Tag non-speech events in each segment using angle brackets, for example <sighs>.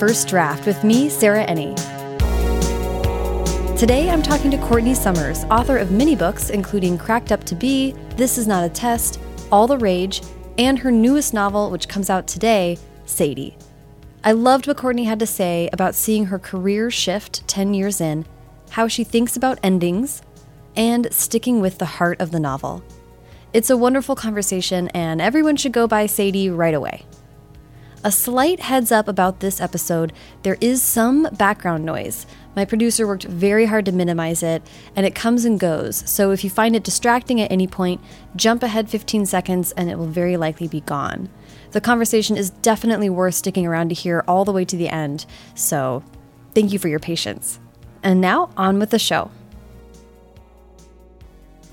First Draft with me, Sarah Ennie. Today I'm talking to Courtney Summers, author of many books, including Cracked Up to Be, This Is Not a Test, All the Rage, and her newest novel, which comes out today, Sadie. I loved what Courtney had to say about seeing her career shift 10 years in, how she thinks about endings, and sticking with the heart of the novel. It's a wonderful conversation, and everyone should go buy Sadie right away. A slight heads up about this episode there is some background noise. My producer worked very hard to minimize it, and it comes and goes. So if you find it distracting at any point, jump ahead 15 seconds and it will very likely be gone. The conversation is definitely worth sticking around to hear all the way to the end, so thank you for your patience. And now, on with the show.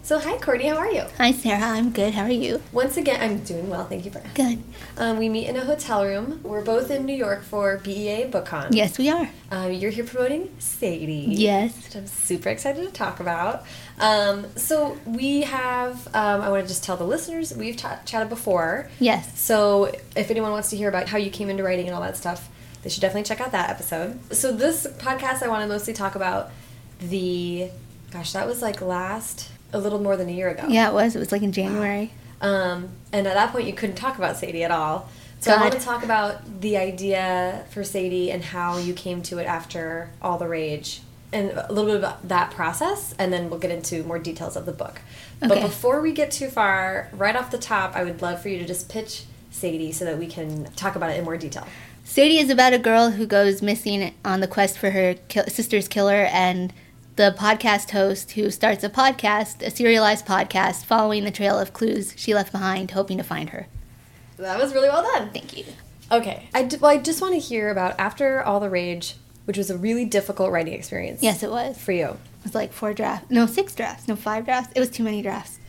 So, hi, Courtney, how are you? Hi Sarah, I'm good. How are you? Once again, I'm doing well, thank you for asking. Good. Um, we meet in a hotel room. We're both in New York for BEA BookCon. Yes, we are. Um, you're here promoting Sadie. Yes. Which I'm super excited to talk about. Um, so we have, um, I want to just tell the listeners, we've ta- chatted before. Yes. So if anyone wants to hear about how you came into writing and all that stuff, they should definitely check out that episode. So this podcast, I want to mostly talk about the, gosh, that was like last, a little more than a year ago. Yeah, it was. It was like in January. Um, and at that point, you couldn't talk about Sadie at all. So I God. want to talk about the idea for Sadie and how you came to it after all the rage, and a little bit about that process, and then we'll get into more details of the book. But Okay. before we get too far, right off the top, I would love for you to just pitch Sadie so that we can talk about it in more detail. Sadie is about a girl who goes missing on the quest for her kill- sister's killer and the podcast host who starts a podcast, a serialized podcast, following the trail of clues she left behind, hoping to find her. That was really well done. Thank you. Okay. I d- well, I just want to hear about after all the rage, which was a really difficult writing experience. Yes, it was. For you. It was like four drafts. No, six drafts. No, five drafts. It was too many drafts.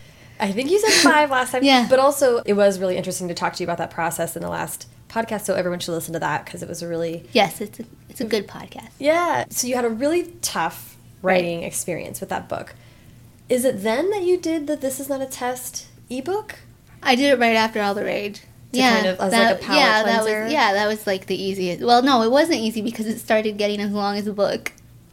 I think you said <laughs> five last time. Yeah. But also, it was really interesting to talk to you about that process in the last podcast. So everyone should listen to that because it was a really. Yes, it's a, it's a good podcast. Yeah. So you had a really tough writing experience with that book. Is it then that you did the This Is Not a Test ebook? I did it right after all the rage. To kind of- as like a palate yeah, that cleanser? was yeah, that was like the easiest. Well, no, it wasn't easy because it started getting as long as a book.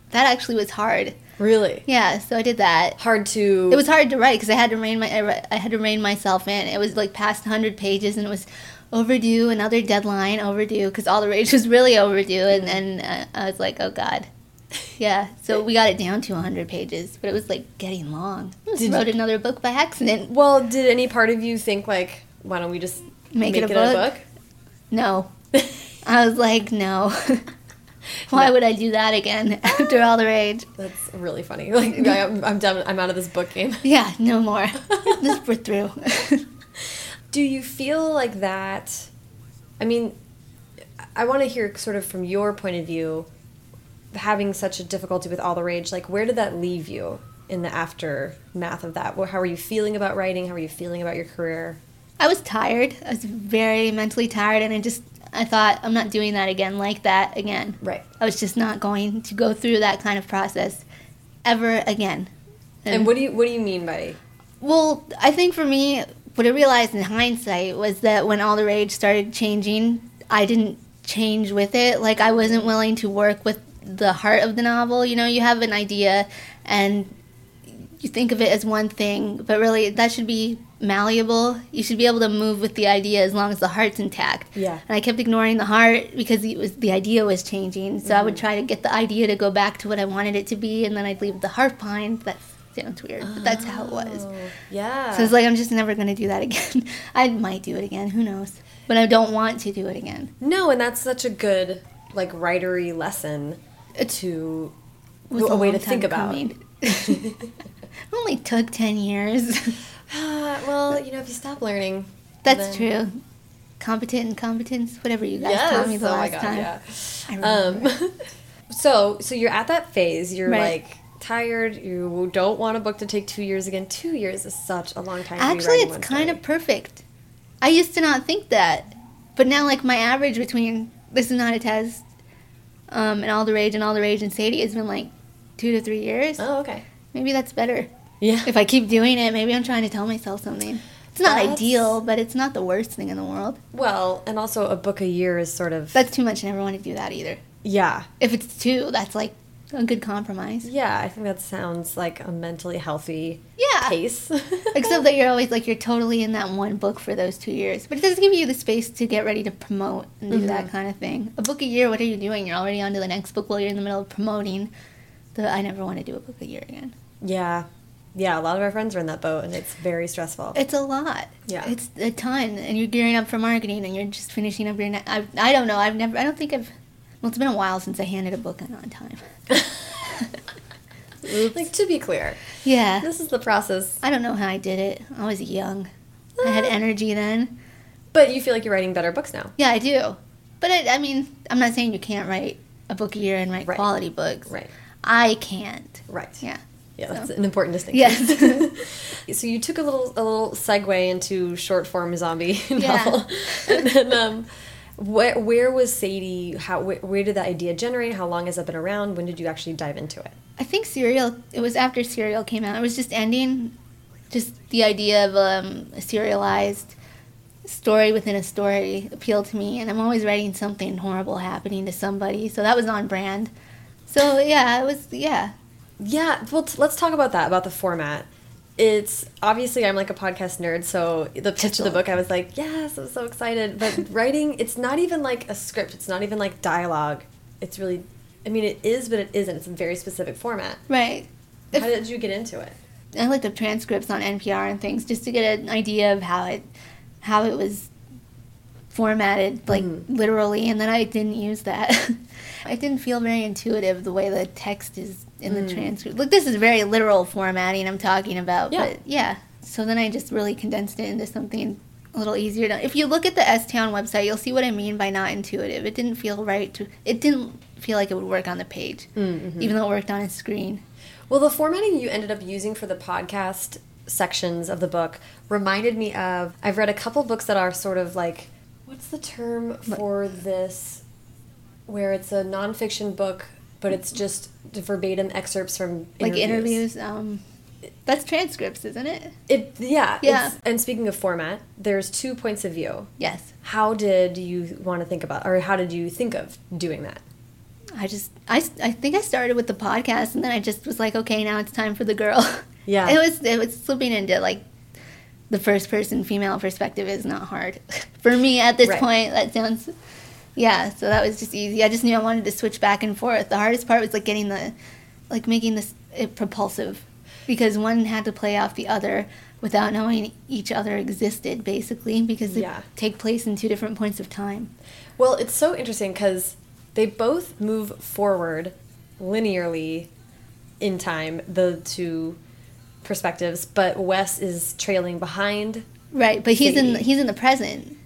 That actually was hard. Really? Yeah, so I did that. Hard to. It was hard to write because I had to rein my I re- I had to rein myself in. It was like past hundred pages, and it was overdue. Another deadline overdue because all the rage was really overdue, and Mm-hmm. then uh, I was like, oh god. Yeah, so we got it down to 100 pages, but it was like getting long. I just Did you- wrote another book by accident. Well, did any part of you think, like, why don't we just Make, it, a, book. No, book? I was like, no. <laughs> Why would I do that again <laughs> after all the rage? That's really funny. <laughs> Like, I'm, I'm done. I'm out of this book game. Yeah, no more. <laughs> this we're through. <laughs> Do you feel like that? I mean, I want to hear sort of from your point of view, having such a difficulty with all the rage. Like, where did that leave you in the aftermath of that? Wh- How are you feeling about writing? How are you feeling about your career? I was tired. I was very mentally tired, and I just I thought I'm not doing that again, like that again. Right. I was just not going to go through that kind of process ever again. And what do you what do you mean by? Well, I think for me, what I realized in hindsight was that when all the rage started changing, I didn't change with it. Like, I wasn't willing to work with the heart of the novel. You know, you have an idea and you think of it as one thing, but really, that should be malleable. You should be able to move with the idea as long as the heart's intact. Yeah. And I kept ignoring the heart because it was the idea was changing. So I would try to get the idea to go back to what I wanted it to be, and then I'd leave the heart behind. That sounds weird, but that's how it was. Yeah. So it's like I'm just never gonna do that <laughs> again. I might do it again, who knows? But I don't want to do it again. no, and that's such a good like writery lesson to It was a way to long think time about. <sighs> coming. <laughs> <laughs> it only took ten years. <laughs> Ah, well, you know, if you stop learning, That's then- true. Competent incompetence, whatever you guys Yes. taught me the oh my last god. time. Yeah. I remember. Um, <laughs> so so you're at that phase. You're Right. like tired. You don't want a book to take two years again. Two years is such a long time. to be Actually, writing it's one kind story. of perfect. I used to not think that, but now like my average between this is not a test, um, and all the rage and all the rage and Sadie has been like two to three years. Oh okay. Maybe that's better. Yeah. If I keep doing it, maybe I'm trying to tell myself something. It's not That's- ideal, but it's not the worst thing in the world. Well, and also a book a year is sort of That's too much. I never want to do that either. yeah. If it's two, that's like a good compromise. Yeah, I think that sounds like a mentally healthy Yeah. pace. Uh, <laughs> Except that you're always like you're totally in that one book for those two years, but it doesn't give you the space to get ready to promote and do that kind of thing. A book a year, what are you doing? You're already on to the next book while you're in the middle of promoting. The I never want to do a book a year again. yeah. Yeah, a lot of our friends are in that boat and it's very <laughs> stressful. It's a lot. Yeah. it's a ton, and you're gearing up for marketing, and you're just finishing up your. Ne- I I don't know. I've never. I don't think I've. Well, it's been a while since I handed a book in on time. like to be clear, Yeah. this is the process. Uh, I don't know how I did it. I was young. I had energy then. But you feel like you're writing better books now. Yeah, I do. But I, I mean, I'm not saying you can't write a book a year and write Right. quality books. Right. I can't. Right. Yeah. Yeah, So- that's an important distinction. Yes. <laughs> so you took a little a little segue into short form zombie <laughs> Yeah. novel, and then um, where where was Sadie? How where, where did that idea generate? How long has that been around? When did you actually dive into it? I think Serial. It was after Serial came out. It was just ending, just the idea of um, a serialized story within a story appealed to me, and I'm always writing something horrible happening to somebody, so that was on brand. So yeah, it was yeah. Yeah, well, t- let's talk about that about the format. It's obviously I'm like a podcast nerd, so the pitch of the book I was like, yes, I'm so excited. <laughs> But writing, it's not even like a script. It's not even like dialogue. It's really, I mean, it is, but it isn't. It's a very specific format. Right. How did you get into it? I looked up transcripts on NPR and things just to get an idea of how it how it was formatted like literally and then I didn't use that. <laughs> I didn't feel very intuitive the way the text is in the transcript. Look, this is very literal formatting I'm talking about, Yeah. but yeah. So then I just really condensed it into something a little easier to. If you look at the S Town website, you'll see what I mean by not intuitive. It didn't feel right to it didn't feel like it would work on the page, even though it worked on a screen. Well, the formatting you ended up using for the podcast sections of the book reminded me of I've read a couple books that are sort of like what's the term for this where it's a nonfiction book but it's just verbatim excerpts from like interviews. Um, that's transcripts, isn't it? It yeah Yeah. it's- And speaking of format, there's two points of view. Yes. How did you want to think about, or how did you think of doing that? I just I, s- I think I started with the podcast and then I just was like, okay, now it's time for the girl. <laughs> Yeah. It was it was slipping into like the first person female perspective is not hard <laughs> for me at this Right. point. That sounds yeah. So that was just easy. I just knew I wanted to switch back and forth. The hardest part was like getting the like making this it propulsive because one had to play off the other without knowing each other existed basically because they Yeah. take place in two different points of time. Well, it's so interesting because they both move forward linearly in time, the two perspectives, but Wes is trailing behind. Right, but he's in Sadie. he's in the present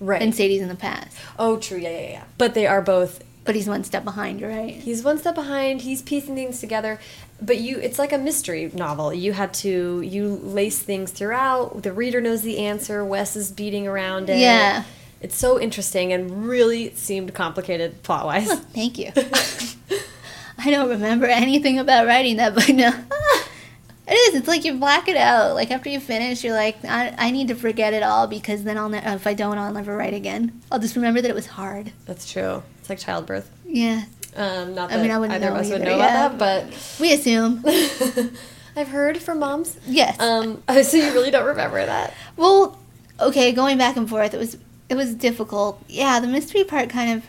Right. and Sadie's in the past. oh, true. Yeah, yeah, yeah. But they are both. But he's one step behind, you're right? He's one step behind. He's piecing things together, but you—it's like a mystery novel. You had to you lace things throughout. The reader knows the answer. Wes is beating around it. Yeah. It's so interesting and really seemed complicated plot-wise. <laughs> Thank you. I don't remember anything about writing that book now. <laughs> it is. It's like you black it out. Like after you finish, you're like, I, I need to forget it all because then I'll ne- if I don't, I'll never write again. I'll just remember that it was hard. That's true. It's like childbirth. Yeah, Um, not I that mean, I wouldn't either of know us would either, know yeah. about that, we assume. but <laughs> I've heard from moms. Yes. Um, <laughs> so you really don't remember that? Well, okay, going back and forth, it was it was difficult. Yeah, the mystery part kind of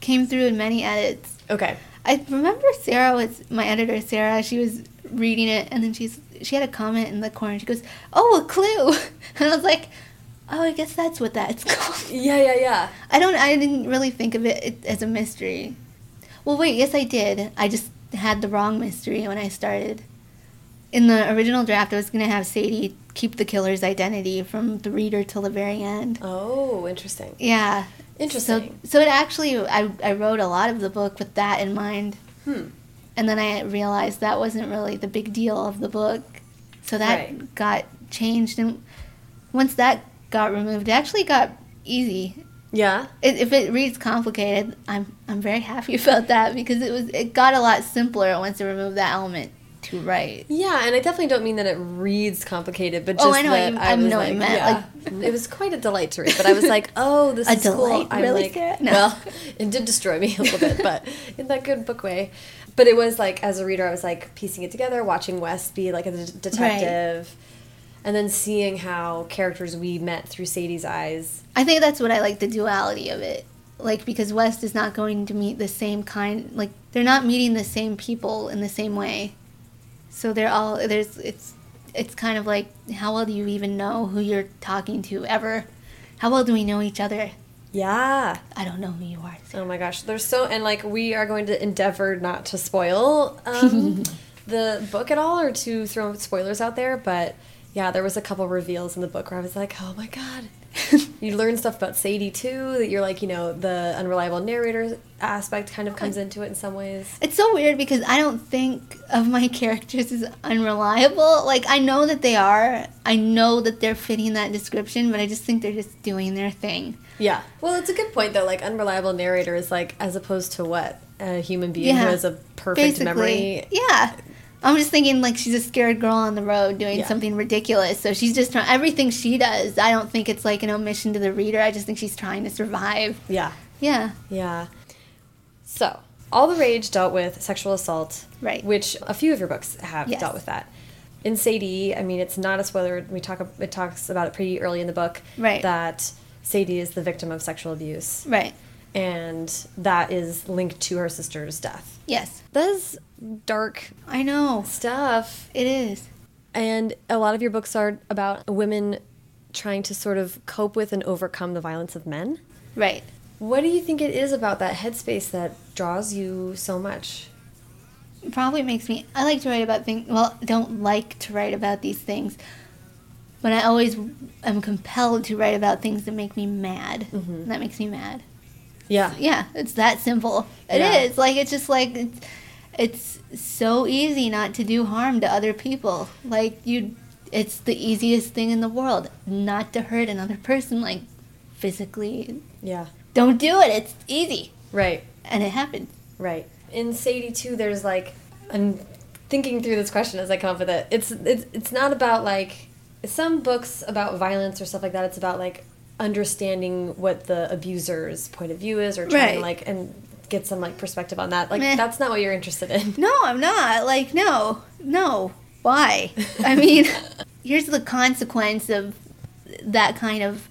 came through in many edits. Okay. I remember Sarah was my editor. Sarah, she was reading it, and then she's she had a comment in the corner. She goes, "Oh, a clue," <laughs> and I was like, "Oh, I guess that's what that's <laughs> called." Yeah, yeah, yeah. I don't. I didn't really think of it it- as a mystery. Well, wait. Yes, I did. I just had the wrong mystery when I started. In the original draft, I was gonna have Sadie keep the killer's identity from the reader till the very end. Oh, interesting. Yeah. Interesting. So, so it actually, I, I wrote a lot of the book with that in mind. Hmm. And then I realized that wasn't really the big deal of the book. So that Right. got changed. And once that got removed, it actually got easy. Yeah. It, if it reads <laughs> complicated, I'm, I'm very happy about that because it was it got a lot simpler once I removed that element to write. Yeah, and I definitely don't mean that it reads complicated, but just Oh, I know what that you- I I was know what like, you meant, yeah. it was quite a delight to read. But I was <laughs> like, oh, this A is cool. delight? I'm Really, like, Sarah? No. well, it did destroy me <laughs> a little <laughs> bit, but in that good book way. But it was like, as a reader, I was like piecing it together, watching West be like a d- detective, and then seeing how characters we met through Sadie's eyes. I think that's what I like the duality of it. Like because West is not going to meet the same kind like they're not meeting the same people in the same way. So they're all there's it's it's kind of like how well do you even know who you're talking to ever? How well do we know each other? Yeah. I don't know who you are. Oh my gosh, there's so and like we are going to endeavor not to spoil um, the book at all or to throw spoilers out there, but yeah, there was a couple reveals in the book where I was like, oh my god. <laughs> you learn stuff about Sadie too that you're like, you know, the unreliable narrator aspect kind of comes into it in some ways. It's so weird because I don't think of my <laughs> characters as unreliable. Like I know that they are. I know that they're fitting that description, but I just think they're just doing their thing. Yeah. Well, it's a good point though. Like unreliable narrator is like as opposed to what a human being who Yeah. has a perfect memory Yeah. I'm just thinking like she's a scared girl on the road doing Yeah. something ridiculous. So she's just trying everything she does. I don't think it's like an omission to the reader. I just think she's trying to survive. Yeah. Yeah. Yeah. So, All the Rage dealt with sexual assault. Right. Which a few of your books have Yes. dealt with that. In Sadie, I mean, it's not a spoiler. We talk. It talks about it pretty early in the book. Right. That Sadie is the victim of sexual abuse, Right. and that is linked to her sister's death. Yes. That is dark I know. stuff It is. and a lot of your books are about women trying to sort of cope with and overcome the violence of men. Right. What do you think it is about that headspace that draws you so much? probably makes me i like to write about things well don't like to write about these things but i always am compelled to write about things that make me mad Mm-hmm. that makes me mad Yeah. yeah it's that simple It is Yeah. like it's just like it's, it's so easy not to do harm to other people like you it's the easiest thing in the world not to hurt another person like physically Yeah. don't do it it's easy Right. and it happens Right. In Sadie too, there's like I'm thinking through this question as I come up with it. It's it's it's not about like some books about violence or stuff like that. It's about like understanding what the abuser's point of view is or trying to Right. like and get some like perspective on that. Like Meh. that's not what you're interested in. No, I'm not. Like, no, no. Why? I mean, here's the consequence of that kind of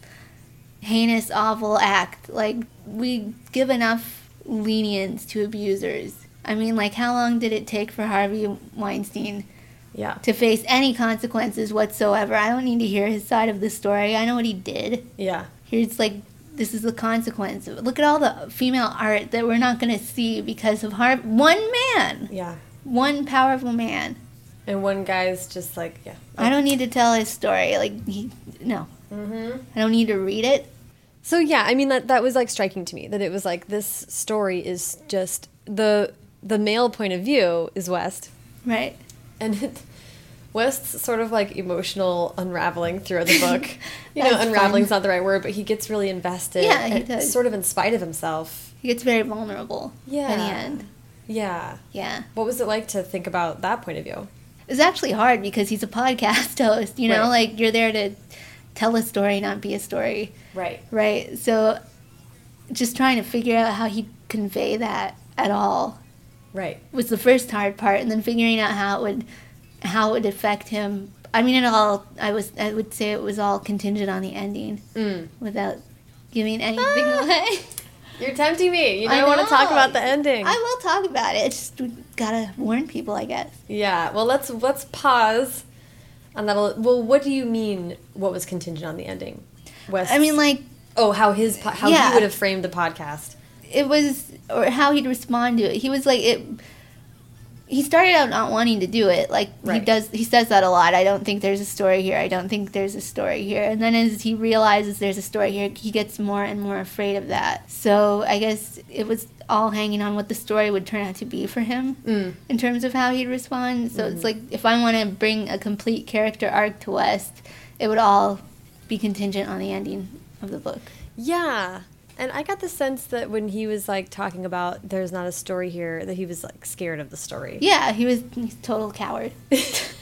heinous, awful act. Like, we give enough lenience to abusers. I mean, like, how long did it take for Harvey Weinstein <laughs> Yeah. to face any consequences whatsoever? I don't need to hear his side of the story. I know what he did. Yeah. Here's like, this is the consequence. Look at all the female art that we're not going to see because of Harvey. One man Yeah. one powerful man. And one guy's just like, yeah. I don't need to tell his story. Like he, no, Mm-hmm. I don't need to read it. So yeah, I mean that that was like striking to me that it was like this story is just the the male point of view is West Right. and it, West's sort of like emotional unraveling throughout the <laughs> book. <laughs> You know, That's fun. unraveling's not the right word, but he gets really invested. Yeah, he and does. Sort of in spite of himself. He gets very vulnerable. Yeah. In the end. Yeah. Yeah. What was it like to think about that point of view? It's actually hard because he's a podcast <laughs> host. You know, Right. like you're there to tell a story, not be a story. Right. Right. So, just trying to figure out how he'd convey that at all Right. was the first hard part, and then figuring out how it would how it would affect him. I mean, it all I was I would say it was all contingent on the ending. Mm. without giving anything away. You're tempting me. You I don't want to talk know. about the ending. I will talk about it. It's just we gotta warn people, I guess. Yeah. Well, let's let's pause on that. a li- Well, what do you mean? What was contingent on the ending? West. I mean, like oh, how his po- how Yeah. he would have framed the podcast. it was, or how he'd respond to it. He was like it. He started out not wanting to do it. Like he Right. does, he says that a lot. I don't think there's a story here. I don't think there's a story here. And then as he realizes there's a story here, he gets more and more afraid of that. So I guess it was all hanging on what the story would turn out to be for him. Mm. Mm-hmm. in terms of how he'd respond. So it's like if I want to bring a complete character arc to West, it would all be contingent on the ending of the book. Yeah. And I got the sense that when he was like talking about there's not a story here, that he was like scared of the story. Yeah, he was he's a total coward. he's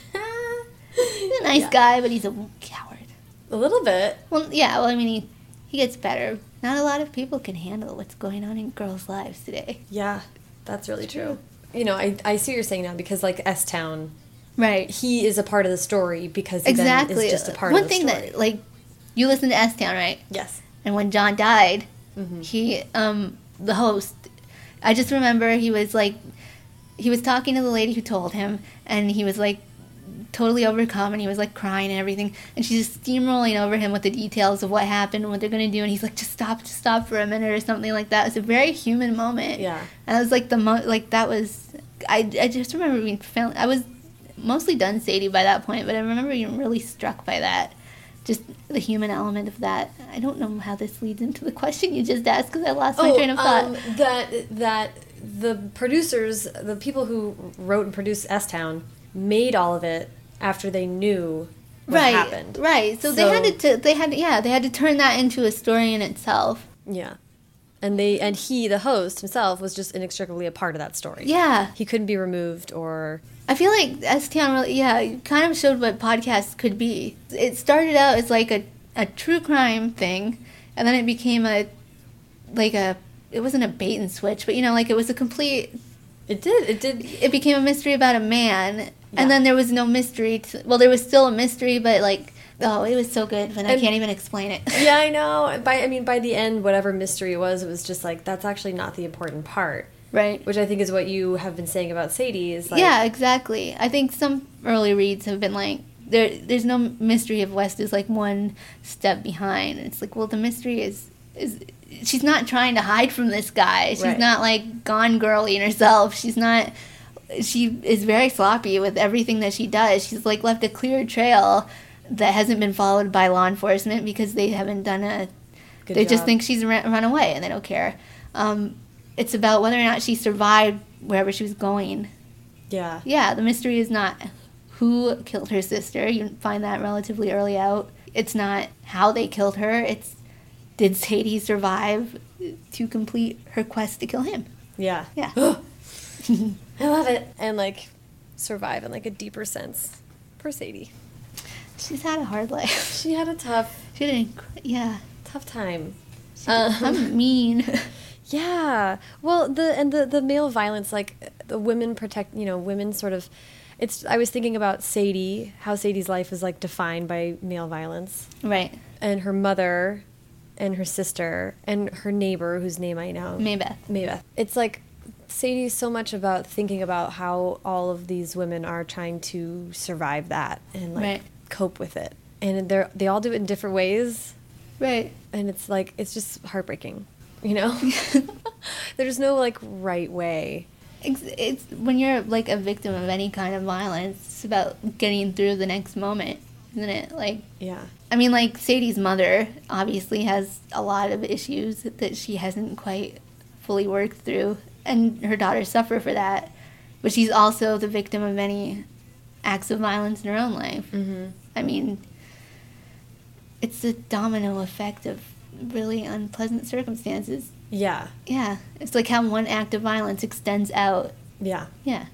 a nice guy, but he's a coward. <laughs> A little bit. Well, yeah. Well, I mean, he he gets better. Not a lot of people can handle what's going on in girls' lives today. Yeah, that's really true. You know, I, I see what you're saying now because like S Town, Right. he is a part of the story because he Exactly. then is just a part One of the thing story. that like you listen to S Town, right? yes. and when John died, he um the host I just remember he was like he was talking to the lady who told him and he was like totally overcome and he was like crying and everything and she's just steamrolling over him with the details of what happened and what they're going to do and he's like just stop just stop for a minute or something like that it's a very human moment Yeah. and it was like the mo like that was I, I just remember being found, I was mostly done Sadie by that point but I remember being really struck by that just the human element of that I don't know how this leads into the question you just asked because I lost my train of thought um, that that the producers, the people who wrote and produced S Town, made all of it after they knew what right happened. right so, they So- had to they had yeah they had to turn that into a story in itself Yeah. And they and he, the host himself, was just inextricably a part of that story. yeah He couldn't be removed or I feel like STN really, yeah, it kind of showed what podcasts could be. It started out as like a, a true crime thing, and then it became a, like a, it wasn't a bait and switch, but you know, like it was a complete, it did it did it became a mystery about a man, Yeah. and then there was no mystery to, well, there was still a mystery, but like, oh, it was so good, but I And- can't even explain it. Yeah, I know. By I mean by the end whatever mystery it was, it was just like that's actually not the important part. <laughs> Right. Which I think is what you have been saying about Sadie is like yeah, exactly. I think some early reads have been like there. There's no mystery of West is like one step behind. And it's like well, the mystery is is she's not trying to hide from this guy. She's Right. not like gone girly in herself. She's not. She is very sloppy with everything that she does. She's like left a clear trail that hasn't been followed by law enforcement because they haven't done a good they just job. think she's run, run away and they don't care. Um, it's about whether or not she survived wherever she was going Yeah. yeah, the mystery is not who killed her sister. You find that relatively early out. It's not how they killed her. It's did Sadie survive to complete her quest to kill him? Yeah. Yeah. I love it. And like survive in like a deeper sense. For Sadie. She's had a hard life. <laughs> She had a tough She didn't. qu- Yeah. tough time. Uh-huh. She I'm mean. Yeah. Well, the and the the male violence, like the women protect, you know, women sort of. It's. I was thinking about Sadie, how Sadie's life is like defined by male violence, right. and her mother, and her sister, and her neighbor, whose name I know, Maybeth. Maybeth. It's like Sadie's so much about thinking about how all of these women are trying to survive that and like Right. cope with it, and they're they all do it in different ways Right. and it's like it's just heartbreaking you <laughs> know <laughs> there's no like right way It's, it's when you're like a victim of any kind of violence. It's about getting through the next moment, isn't it? Like yeah I mean, like Sadie's mother obviously has a lot of issues that she hasn't quite fully worked through, and her daughters suffer for that. But she's also the victim of many acts of violence in her own life. Mm-hmm. I mean, it's the domino effect of really unpleasant circumstances. yeah Yeah, it's like how one act of violence extends out. yeah Yeah,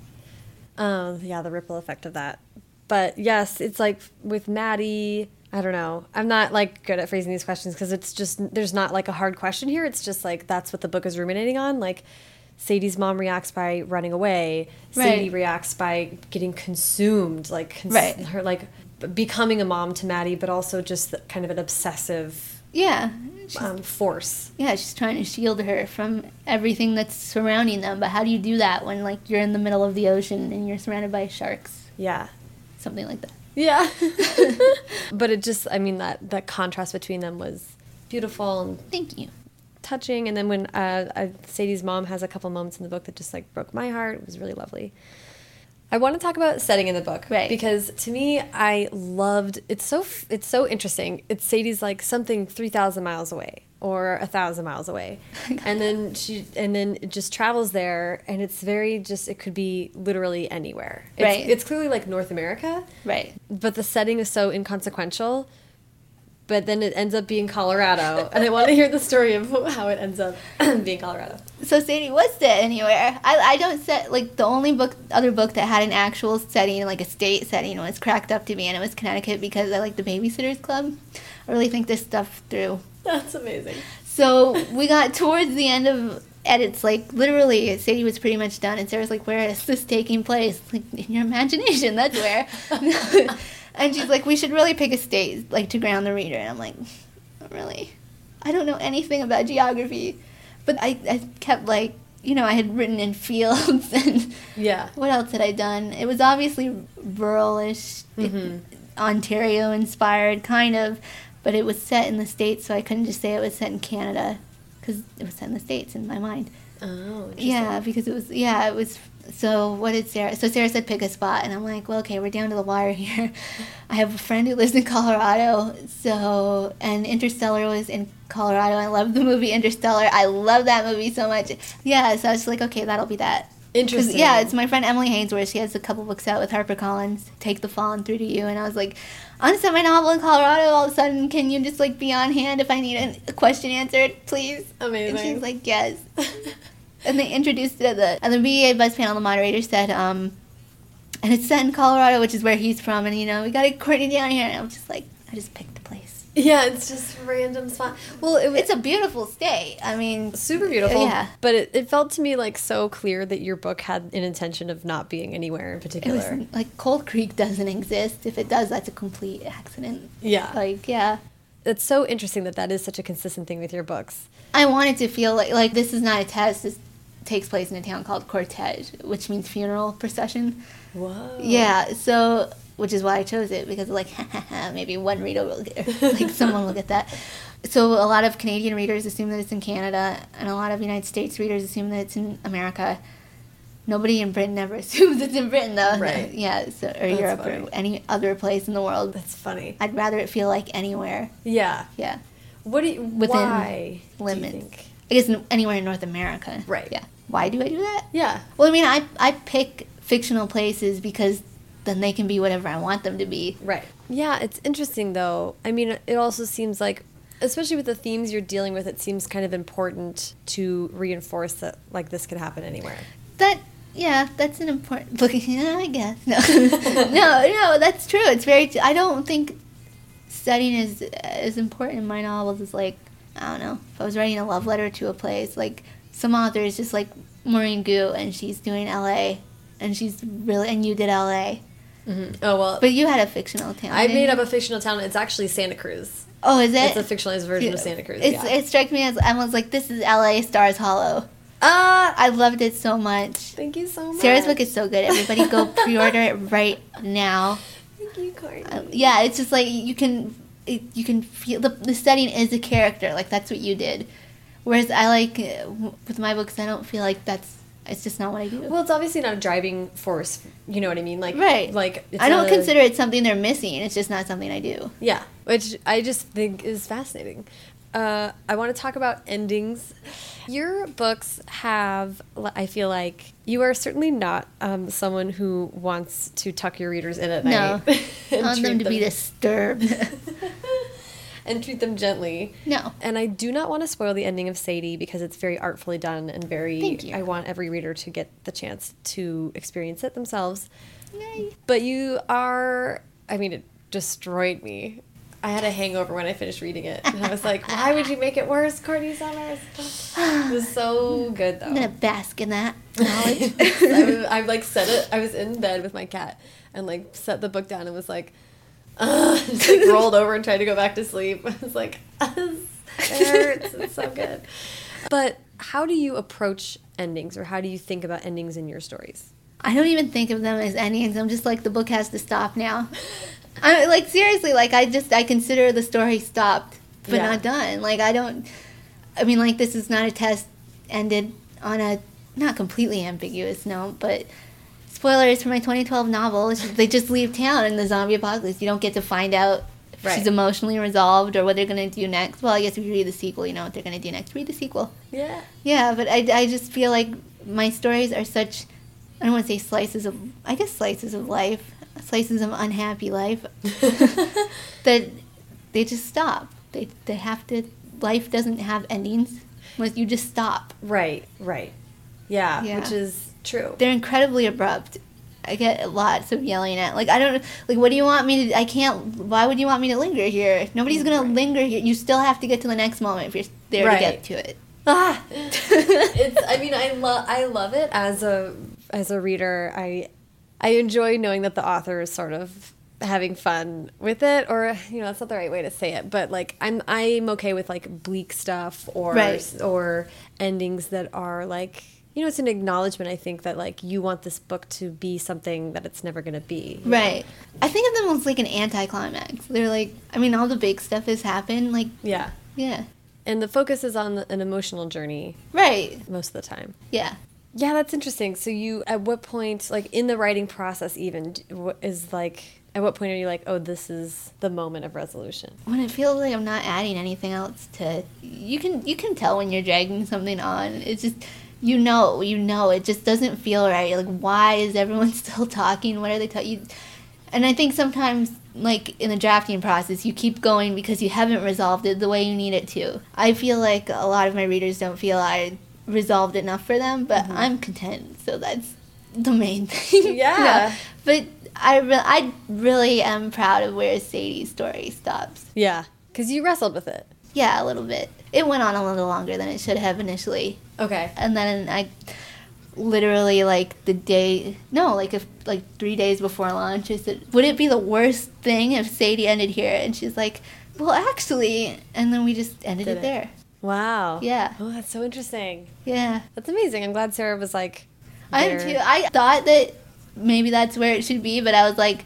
um yeah the ripple effect of that but yes it's like with maddie i don't know i'm not like good at phrasing these questions because it's just there's not like a hard question here it's just like that's what the book is ruminating on like sadie's mom reacts by running away sadie Right. reacts by getting consumed like cons- Right. her like b- becoming a mom to maddie but also just the, kind of an obsessive yeah. She's um, force Yeah, she's trying to shield her from everything that's surrounding them. But how do you do that when like you're in the middle of the ocean and you're surrounded by sharks? Yeah. Something like that. Yeah. <laughs> but it just I mean that that contrast between them was beautiful and Thank you. touching and then when uh, uh, Sadie's mom has a couple moments in the book that just like broke my heart, it was really lovely. I want to talk about setting in the book Right. because to me I loved it's so f- it's so interesting. It's Sadie's like something 3000 miles away or a 1000 miles away. <laughs> and then she and then it just travels there and it's very just it could be literally anywhere. It's- Right. It's clearly like North America Right. but the setting is so inconsequential but then it ends up being Colorado, and I want to hear the story of <laughs> how it ends up <clears throat> being Colorado. So Sadie was set anywhere. I, I don't set like the only book other book that had an actual setting like a state setting was cracked up to me and it was Connecticut because I like the Babysitters Club. I really think this stuff through. That's amazing. So we got towards the end of edits like literally Sadie was pretty much done and Sarah's like where is this taking place <laughs> like in your imagination that's where <laughs> and she's like we should really pick a state like to ground the reader and I'm like really I don't know anything about geography but I, I kept like you know I had written in <laughs> fields and <laughs> Yeah. what else had I done it was obviously ruralish Mm-hmm. Mm-hmm. Ontario inspired kind of but it was set in the states so I couldn't just say it was set in Canada because it was set in the states in my mind Oh, interesting. yeah, because it was yeah, it was so what did Sarah so Sarah said pick a spot and I'm like, Well okay, we're down to the wire here. <laughs> I have a friend who lives in Colorado, so and Interstellar was in Colorado. I love the movie Interstellar. I love that movie so much. Yeah, so I was like, Okay, that'll be that. 'Cause, Interesting. Yeah, it's my friend Emily Hainsworth. She has a couple books out with HarperCollins, Take the Fall and Through to You. And I was like, I'm gonna set my novel in Colorado all of a sudden. Can you just like be on hand if I need an- a question answered, please? amazing. And she's like, yes. and they introduced it at the at the BEA buzz panel. The moderator said, um, and it's set in Colorado, which is where he's from. And you know, we got to coordinate down here. And I'm just like, I just picked the place. <laughs> yeah, it's just random spot. Well, it was It's a beautiful state. I mean, super beautiful. Yeah. But it, it felt to me like so clear that your book had an intention of not being anywhere in it particular. was like Cold Creek doesn't exist. If it does, that's a complete accident. yeah. Like, yeah. it's so interesting that that is such a consistent thing with your books. I wanted to feel like like this is not a test. This takes place in a town called Cortege, which means funeral procession. Whoa. Yeah, so which is why I chose it because like <laughs> maybe one reader will get <laughs> like someone will get that. So a lot of Canadian readers assume that it's in Canada, and a lot of United States readers assume that it's in America. Nobody in Britain ever <laughs> assumes it's in Britain though. Right. <laughs> Yeah, so, or Europe funny. or any other place in the world. That's funny. I'd rather it feel like anywhere. Yeah. Yeah, What do you, Within why limits. do you think? I guess n- anywhere in North America. Right. Yeah. Why do I do that? Yeah. Well, I mean, I I pick fictional places because then they can be whatever I want them to be. Right. Yeah, it's interesting though. I mean, it also seems like especially with the themes you're dealing with, it seems kind of important to reinforce that like this could happen anywhere. That yeah, that's an important <laughs> looking. Yeah, I guess <laughs> no, no, no. That's true. It's very. I don't think studying is as important in my novels as like I don't know. If I was writing a love letter to a place, like some authors, just like Maureen Gu, and she's doing L.A. and she's really and you did L.A. Oh well, But you had a fictional town. I didn't made you? up a fictional town. It's actually Santa Cruz. Oh, is it? It's a fictionalized version of Santa Cruz. It's, yeah. It struck me as Emma's like this is L.A. Stars Hollow. Ah, I loved it so much. thank you so much. Sarah's book is so good. Everybody <laughs> go pre-order it right now. Thank you, Courtney. Uh, yeah, it's just like you can it, you can feel the, the setting is a character. Like that's what you did. Whereas I like uh, w- with my books, I don't feel like that's it's just not what I do. well, it's obviously not a driving force. You know what I mean? Like, right. Like, it's I don't not a- consider it something they're missing. It's just not something I do. Yeah, which I just think is fascinating. Uh, I want to talk about endings. Your books have, l- I feel like, you are certainly not um, someone who wants to tuck your readers in at No. night. <laughs> I and want them treat to <laughs> be disturbed. <laughs> and treat them gently. No. And I do not want to spoil the ending of Sadie because it's very artfully done and very. Thank you. I want every reader to get the chance to experience it themselves. Yay. But you are, I mean, it destroyed me. I had a hangover when I finished reading it. And I was like, why would you make it worse, Courtney Summers? It was so good, I'm gonna though. bask in that <laughs> knowledge. I, was- I like set it, I was in bed with my cat and like set the book down and was like, Ugh, <laughs> just like rolled over and tried to go back to sleep. <laughs> I was like, it hurts. It's so good. But how do you approach endings or how do you think about endings in your stories? I don't even think of them as endings. I'm just like the book has to stop now. I like seriously, like I just I consider the story stopped but Yeah. not done. Like I don't. I mean, like this is not a test ended on a not completely ambiguous note, but spoilers for my 2012 novel. it's just- They just leave town in the zombie apocalypse. You don't get to find out. If Right. She's emotionally resolved, or what they're gonna do next. Well, I guess if you read the sequel, you know what they're gonna do next. Read the sequel. <laughs> Yeah. Yeah, but I, I just feel like my stories are such, I don't want to say slices of, I guess slices of life, slices of unhappy life, that they just stop. They they have to. Life doesn't have endings. Like you just stop. Right, right. Yeah, Yeah. which is true. They're incredibly abrupt. I get lots of yelling at. Like I don't like. What do you want me to? I can't. Why would you want me to linger here? Nobody's gonna linger here. You still have to get to the next moment if you're there Right. to get to it. Ah, <laughs> it's. I mean, I love. I love it as a as a reader. I I enjoy knowing that the author is sort of having fun with it, or you know, that's not the right way to say it, but like I'm I'm okay with like bleak stuff or Right. or endings that are like. You know, it's an acknowledgement. I think that like you want this book to be something that it's never going to be. Right. I think of them as like an anticlimax. They're like, I mean, all the big stuff has happened. Like, Yeah, yeah. and the focus is on an emotional journey Right. most of the time. Yeah. Yeah, that's interesting. So you, at what point, like in the writing process, even d- what is like, at what point are you like, oh, this is the moment of resolution? When it feels like I'm not adding anything else to, you can you can tell when you're dragging something on. It's just you know you know it just doesn't feel right. You're like, why is everyone <laughs> still talking? What are they talking? And I think sometimes, like in the drafting process, you keep going because you haven't resolved it the way you need it to. I feel like a lot of my readers don't feel I resolved enough for them, but I'm content. So that's the main <laughs> thing. Yeah. But I, re- I really am proud of where Sadie's story stops. Yeah, because you wrestled with it. Yeah, a little bit. It went on a little longer than it should have initially. Okay. And then I literally like the day no like if like three days before launch i said would it be the worst thing if sadie ended here and she's like well actually and then we just ended Did it it. there Wow. Yeah. Oh, that's so interesting. yeah That's amazing. I'm glad Sarah was like. I am there. too. I thought that maybe that's where it should be, but I was like,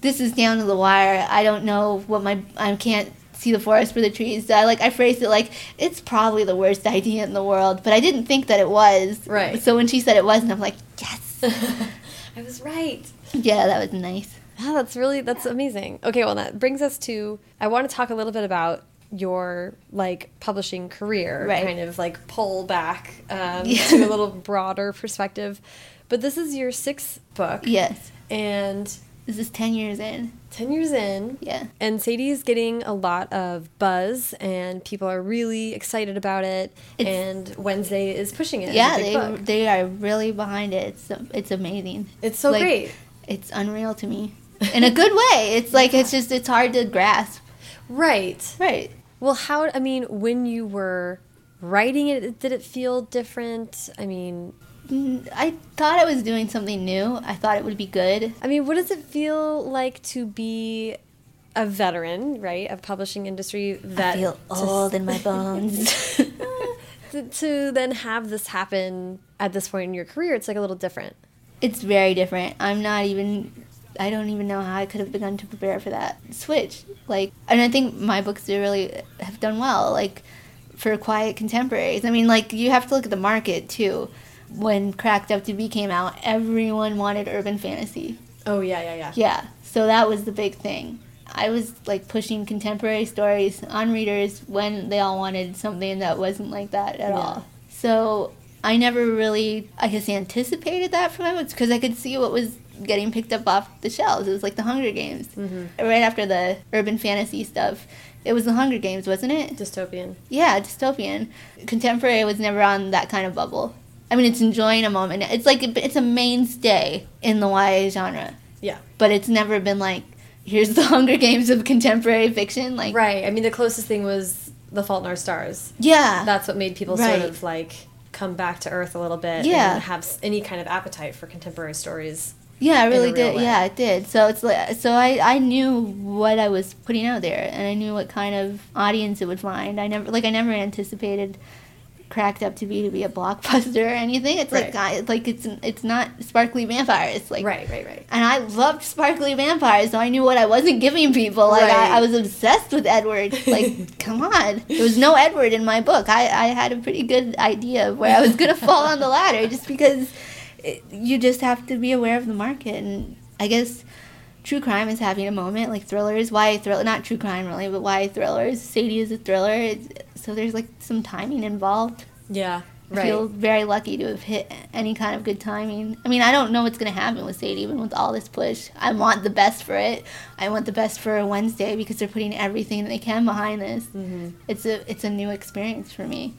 this is down to the wire. I don't know what my I can't see the forest for the trees. So I like I phrased it like it's probably the worst <laughs> idea in the world, but I didn't think that it was. Right. So when she said it wasn't, I'm like, yes. <laughs> I was right. yeah, that was nice. Yeah, that's really that's amazing. Okay, well that brings us to I want to talk a little bit about your like publishing career, Right. kind of like pull back um, Yeah. to a little broader perspective. But this is your sixth book, Yes. and This is ten years in. ten years in, Yeah. and Sadie is getting a lot of buzz, and people are really excited about it. It's- and Wednesday is pushing it. as a Yeah, big they book. they are really behind it. It's it's amazing. It's so Like, great. It's unreal <laughs> to me. In a good way. It's like it's just it's hard to grasp. right? Right. Well, how, I mean, when you were writing it, did it feel different? I mean, Mm, I thought I was doing something new. I thought it would be good. I mean, what does it feel like to be a veteran, right, of publishing industry vet? I feel to- old in my <laughs> bones. <laughs> to, to then have this happen at this point in your career, it's like a little different. it's very different. I'm not even. I don't even know how I could have begun to prepare for that switch. Like, and I think my books do really have done well. Like, for quiet contemporaries. I mean, like you have to look at the market too. When Cracked Up to Be came out, everyone wanted urban fantasy. Oh, yeah, yeah, yeah. Yeah, so that was the big thing. I was like pushing contemporary stories on readers when they all wanted something that wasn't like that at all. So I never really, I guess, anticipated that from my books because I could see what was getting picked up off the shelves. It was like the Hunger Games. Right after the urban fantasy stuff, it was the Hunger Games, wasn't it? Dystopian. Yeah, dystopian. Contemporary was never on that kind of bubble. I mean, it's enjoying a moment. It's like it's a mainstay in the YA genre, Yeah. but it's never been like here's the <laughs> Hunger Games of contemporary fiction. Like, Right. I mean, the closest thing was The Fault in Our Stars. yeah, That's what made people Ah. Right. sort of like come back to earth a little bit Yeah. and have s- any kind of appetite for contemporary stories. yeah, I really a real did. way. Yeah, it did. So it's like so I I knew what I was putting out there, and I knew what kind of audience it would find. I never like I never anticipated cracked up to be to be a <laughs> blockbuster or anything. It's like Right. I, like it's it's not sparkly vampires. Like Right, right, right. and I loved sparkly vampires, so I knew what I wasn't giving people. Like I, I Right. was obsessed with Edward. Like, come on, there was no Edward in my book. I, I had a pretty good idea of where I was gonna fall on the ladder, just because it, you just have to be aware of the market. And I guess true crime is having a moment, like thrillers. Why thriller? Not true crime really, but why thrillers? Sadie is a thriller, it's, so there's like some timing involved. Yeah. I feel very lucky to have hit any kind of good timing. I mean, I don't know what's going to happen with Sadie, even with all this push. I want the best for it. I want the best for Wednesday because they're putting everything they can behind this. It's a it's a new experience for me.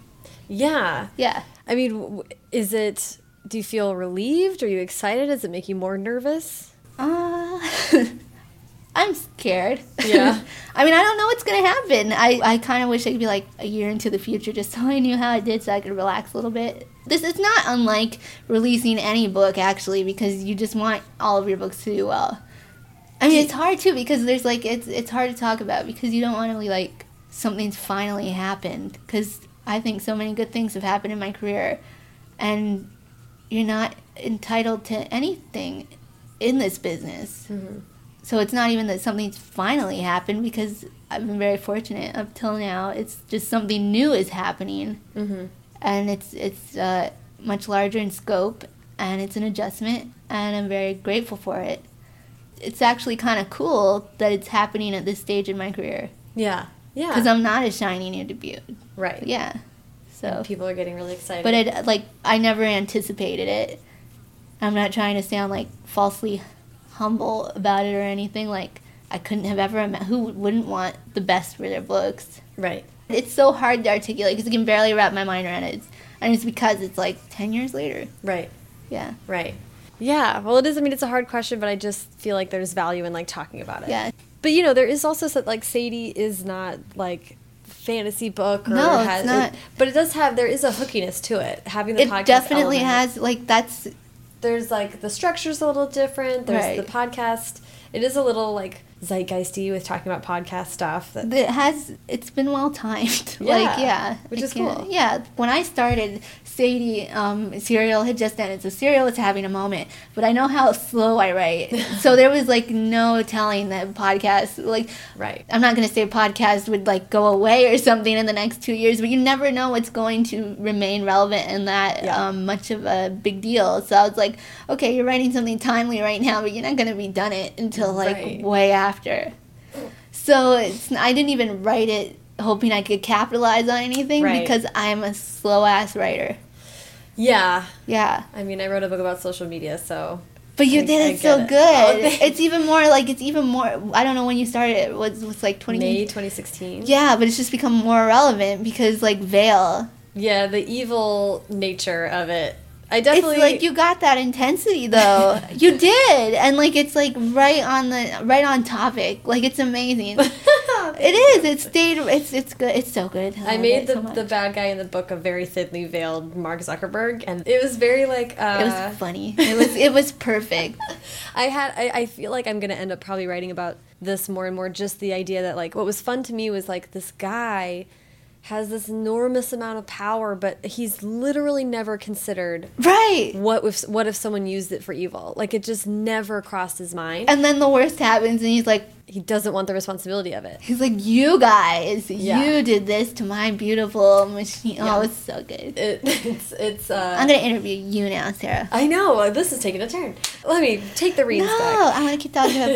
Yeah. Yeah. I mean, w- is it? Do you feel relieved? Are you excited? Does it make you more nervous? Uh, <laughs> I'm scared. Yeah. <laughs> I mean, I don't know what's going to happen. I, I kind of wish I could be like a year into the future just <laughs> so I knew how I did so I could relax a little bit. This is not unlike releasing any book, actually, because you just want all of your books to do well. I mean, it's hard too because there's like, it's, it's hard to talk about because you don't want to be like, something's finally happened. Because I think so many good things have happened in my career. And you're not entitled to anything in this business. So it's not even that something's finally happened because I've been very fortunate up till now. It's just something new is happening, and it's it's uh, much larger in scope, and it's an adjustment, and I'm very grateful for it. It's actually kind of cool that it's happening at this stage in my career Yeah. Yeah. because I'm not as shiny new debut. right. Yeah, so People are getting really excited. but it like I never anticipated it. I'm not trying to sound like falsely humble about it or anything. Like I couldn't have ever ima- who wouldn't want the best for their books. right. It's so hard to articulate because I can barely wrap my mind around it. It's, and it's because it's like ten years later. Right. Yeah, Right. Yeah. Well, it is. I mean, it's a hard question, but I just feel like there's value in like talking about it. yeah. But you know, there is also that like Sadie is not like fantasy book or No, it's has not. It, but it does have there is a hookiness to it. Having the podcast It definitely element. has like that's There's like the structure's a little different. There's Right. the podcast. It is a little like zeitgeisty with talking about podcast stuff. That, it has it's been well timed <laughs> Yeah, like yeah which I is can't- cool. yeah when i started sadie um serial had just ended so serial was having a moment but i know how slow i <laughs> write so there was like no telling that podcast like right. i'm not going to say podcast would like go away or something in the next two years but you never know what's going to remain relevant and that Yeah. um, much of a big deal so i was like okay you're writing something timely right now but you're not going to be done it until like Right. way after so it's I didn't even write it hoping I could capitalize on anything Right. because I'm a slow ass writer. Yeah. Yeah. I mean, I wrote a book about social media, so But you I- I did it get so it. good. Oh, thanks. it's even more like it's even more I don't know when you started it was was like 20 May 2016. Yeah, but it's just become more relevant because like Veil. Yeah, the evil nature of it. I definitely <laughs> it's like you got that intensity though. you did. And like it's like right on the right on topic. Like it's amazing. It is. It stayed. It's it's good. It's so good. I love made Oh, it so the, much. the bad guy in the book a very thinly veiled Mark Zuckerberg, and it was very like uh, It was funny. It was it was <laughs> perfect. I had I, I feel like I'm gonna end up probably writing about this more and more. Just the idea that like what was fun to me was like this guy has this enormous amount of power, but he's literally never considered Right. what if what if someone used it for evil. Like it just never crossed his mind. And then the worst happens, and he's like, he doesn't want the responsibility of it. he's like, you guys, Yeah. you did this to my beautiful machine. Oh, it's so good. it <laughs> it's it's. Uh, I'm gonna interview you now, Sarah. I know this is taking a turn. Let me take the reins No, back. I want to keep talking about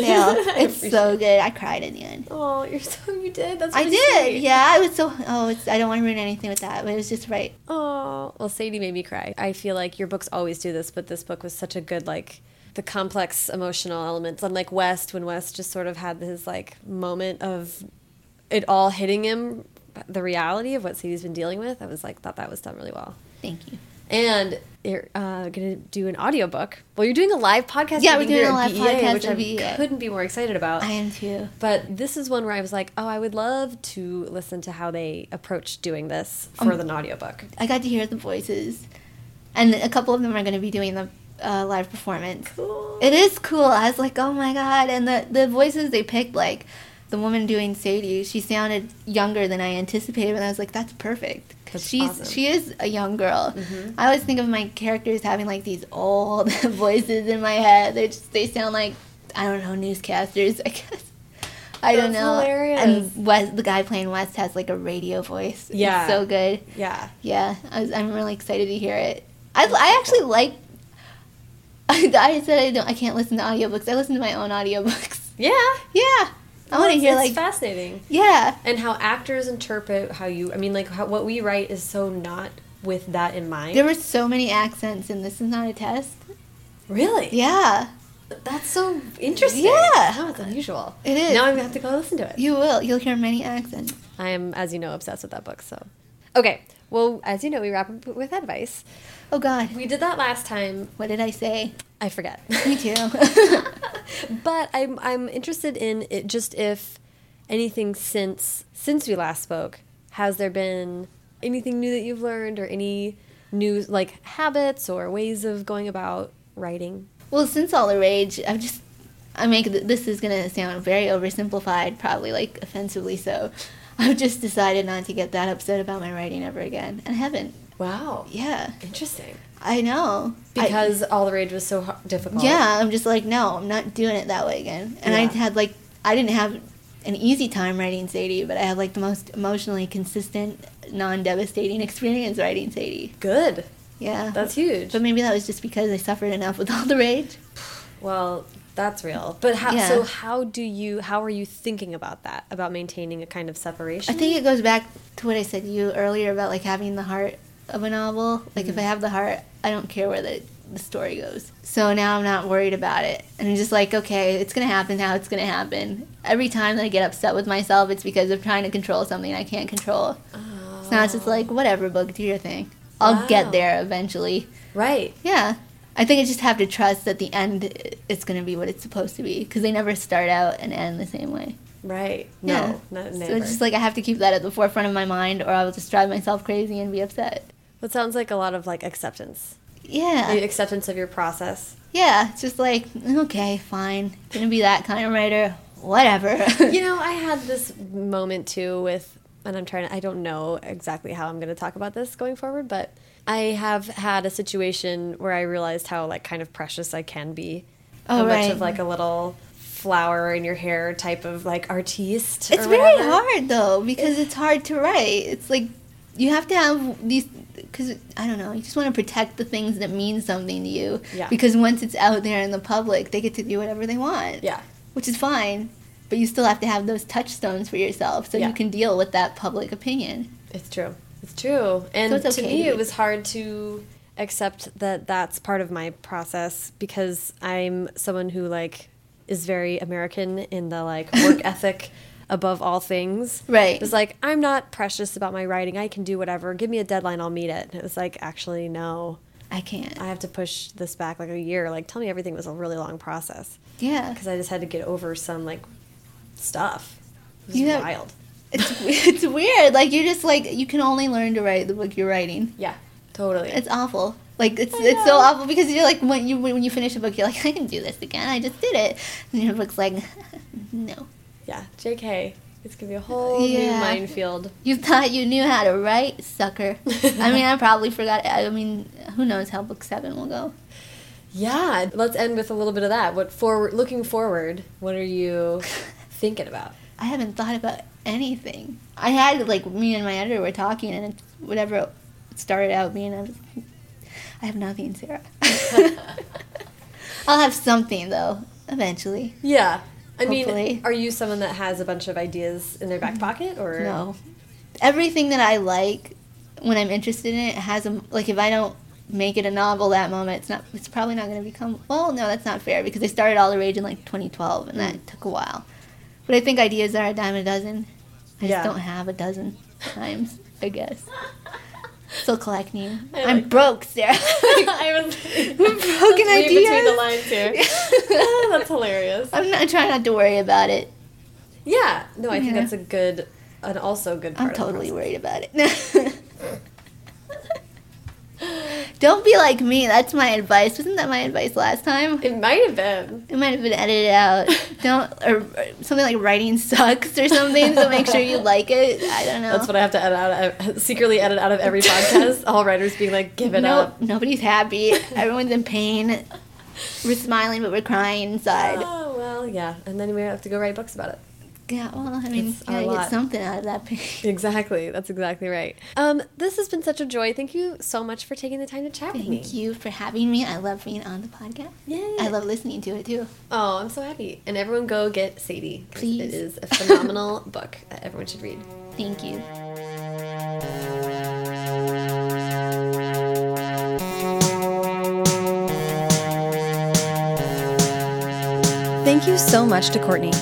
I Bale. It's so good. I cried at the end. Oh, you're so you did. That's I really did. sweet. Yeah, I was so. Oh, it's, I don't want to ruin anything with that, but it was just right. Oh, well, Sadie made me cry. I feel like your books always do this, but this book was such a good like the complex emotional elements. Unlike West, when West just sort of had his like moment of it all hitting him, the reality of what Sadie's been dealing with. I was like, thought that was done really well. Thank you. And you're uh, gonna do an audiobook. Well, you're doing a live podcast. Yeah, we're meeting doing here a at live BEA, podcast which at I BEA. couldn't be more excited about. I am too. But this is one where I was like, oh, I would love to listen to how they approach doing this for the audiobook. I got to hear the voices, and a couple of them are going to be doing the uh, live performance. It is cool. I was like, oh my god! And the the voices they picked, like the woman doing Sadie, she sounded younger than I anticipated, and I was like, that's perfect because That's she's awesome. Mm-hmm. she is a young girl. I always think of my characters having like these old <laughs> voices in my head. They just they sound like I don't know newscasters. I guess. I don't That's know. hilarious. And West, the guy playing West has like a radio voice. It's Yeah. so good. Yeah. Yeah, I was, I'm really excited to hear it. I, I actually like. <laughs> I, said I don't. I can't listen to audiobooks. I listen to my own audiobooks. <laughs> Yeah. Oh, Yeah, I want to hear it's like. fascinating. yeah, And how actors interpret how you I mean like how, what we write is so not with that in mind. There were so many accents in This Is Not a Test. really? Yeah, That's so interesting. Yeah. No, it's unusual. It is. Now I'm gonna have to go listen to it. you will. You'll hear many accents. I am, as you know, obsessed with that book. So, okay. Well, as you know, we wrap up with advice. Oh, God. We did that last time. What did I say? I forget. Me too. <laughs> but I'm I'm interested in it. Just if anything since since we last spoke, has there been anything new that you've learned or any new like habits or ways of going about writing? well, since all the rage, I've just. I make th- this is gonna sound very oversimplified, probably like offensively so. <laughs> I've just decided not to get that upset about my writing ever again, and I haven't. Wow. Yeah, Interesting. I know I- Because all the rage was so har- difficult. Yeah, I'm just like, no, I'm not doing it that way again. And I Yeah. had like, I didn't have an easy time writing Sadie, but I had like the most emotionally consistent, non devastating <laughs> experience writing Sadie. Good. Yeah. That's huge. Uh-huh. but maybe that was just because I suffered enough with all the rage. Well, that's real. But how, Yeah. so how do you how are you thinking about that? About maintaining a kind of separation? I think it goes back to what I said to you earlier about like having the heart of a novel. Like if I have the heart, I don't care where the, the story goes. So now I'm not worried about it. And I'm just like, okay, it's going to happen how it's going to happen. Every time that I get upset with myself, it's because I'm trying to control something I can't control. So now Oh. it's just like, whatever, book, do your thing. I'll Wow. get there eventually. right. Yeah. I think I just have to trust that the end it's going to be what it's supposed to be because they never start out and end the same way. Right. Yeah. No. No. So never. it's just like I have to keep that at the forefront of my mind, or I will just drive myself crazy and be upset. That sounds like a lot of like acceptance. Yeah, The acceptance of your process. yeah. It's just like okay, fine, gonna be that kind of writer, whatever. <laughs> <laughs> You know, I had this moment too with, and I'm trying to, I don't know exactly how I'm going to talk about this going forward, but I have had a situation where I realized how, like, kind of precious I can be. Oh, how much right. of, like, a little flower in your hair type of, like, artiste. it's or very whatever. hard though because it's hard to write. It's like you have to have these because I don't know. You just want to protect the things that mean something to you. Yeah. Because once it's out there in the public, they get to do whatever they want. Yeah. Which is fine, but you still have to have those touchstones for yourself so Yeah. you can deal with that public opinion. It's true. It's true. And it's to okay me, to it be- was hard to accept that that's part of my process because I'm someone who like is very American in the like work <laughs> ethic above all things. Right. It was like I'm not precious about my writing. I can do whatever. Give me a deadline, I'll meet it. And it was like actually no. I can't. I have to push this back like a year. Like tell me everything was a really long process Yeah, because I just had to get over some like stuff. It was You have- wild. <laughs> it's it's weird. Like you're just like you can only learn to write the book you're writing. Yeah. Totally. It's awful. Like it's it's so awful because you're like when you when you finish a book you're like <laughs> I can do this again. I just did it. And your book's like <laughs> no. Yeah, JK. It's gonna be a whole new Uh, Yeah. minefield. You thought you knew how to write, sucker. I mean, I probably forgot. I mean, who knows how book seven will go? Yeah, let's end with a little bit of that. What forward looking forward, what are you <laughs> thinking about? I haven't thought about anything. I had like me and my editor were talking, and it's whatever it started out being, I was, I have nothing, Sarah. <laughs> I'll have something though eventually. Yeah. I mean, Hopefully. are you someone that has a bunch of ideas in their back pocket or No, everything that I like when I'm interested in it has a like if I don't make it a novel that moment, it's not. It's probably not going to become. Well, no, that's not fair because I started all the rage in like 2012, and that took a while. But I think ideas are a dime a dozen. I just Yeah. don't have a dozen times, I guess. Still collecting. I I'm like that. <laughs> broke, <laughs> Sarah. <laughs> I was reading Broken between the ideas. lines <laughs> here. <laughs> That's hilarious. I'm not trying not to worry about it. Yeah. No, I think Yeah. that's a good and also good part I'm of totally the worried about it. <laughs> Don't be like me. That's my advice. Wasn't that my advice last time? process. It might have been. It might have been <laughs> edited out. Don't or, or something like writing sucks or something. So make <laughs> sure you like it. I don't know. That's what I have to edit out secretly edit out of <laughs> <laughs> every podcast. All writers being like, give it no, up. nobody's <laughs> happy. Everyone's in pain. We're smiling, but we're crying inside. Oh well, yeah, and then we have to go write books about it. Yeah. Well, I mean, It's you our gotta lot. get something out of that pain. Exactly, that's exactly right. Um, this has been such a joy. Thank you so much for taking the time to chat with me. Thank you for having me. I love being on the podcast. Yay. I love listening to it too. Oh, I'm so happy. And everyone, go get Sadie. 'cause it Please. is a phenomenal <laughs> book that everyone should read. Thank you. Thank you so much to Courtney.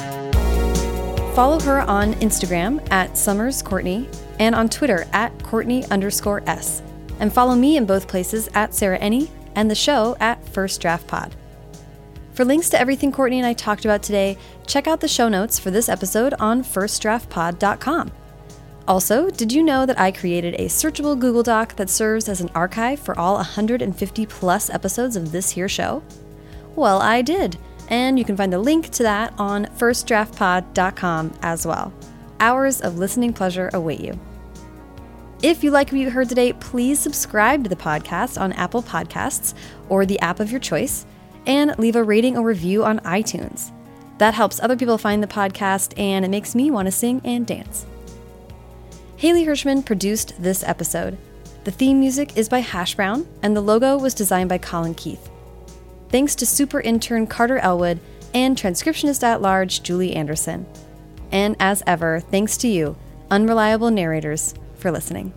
Follow her on Instagram at Summers Courtney and on Twitter at Courtney underscore S. And follow me in both places at Sarah Ennie and the show at First Draft Pod. For links to everything Courtney and I talked about today, check out the show notes for this episode on firstdraftpod.com. Also, did you know that I created a searchable Google Doc that serves as an archive for all 150 plus episodes of this here show? Well, I did, and you can find the link to that on firstdraftpod.com as well. Hours of listening pleasure await you. If you like what you heard today, please subscribe to the podcast on Apple Podcasts or the app of your choice and leave a rating or review on iTunes. That helps other people find the podcast and it makes me want to sing and dance. Haley Hirschman produced this episode. The theme music is by Hash Brown and the logo was designed by Colin Keith. Thanks to super intern Carter Elwood and transcriptionist at large Julie Anderson. And as ever, thanks to you, unreliable narrators, for listening.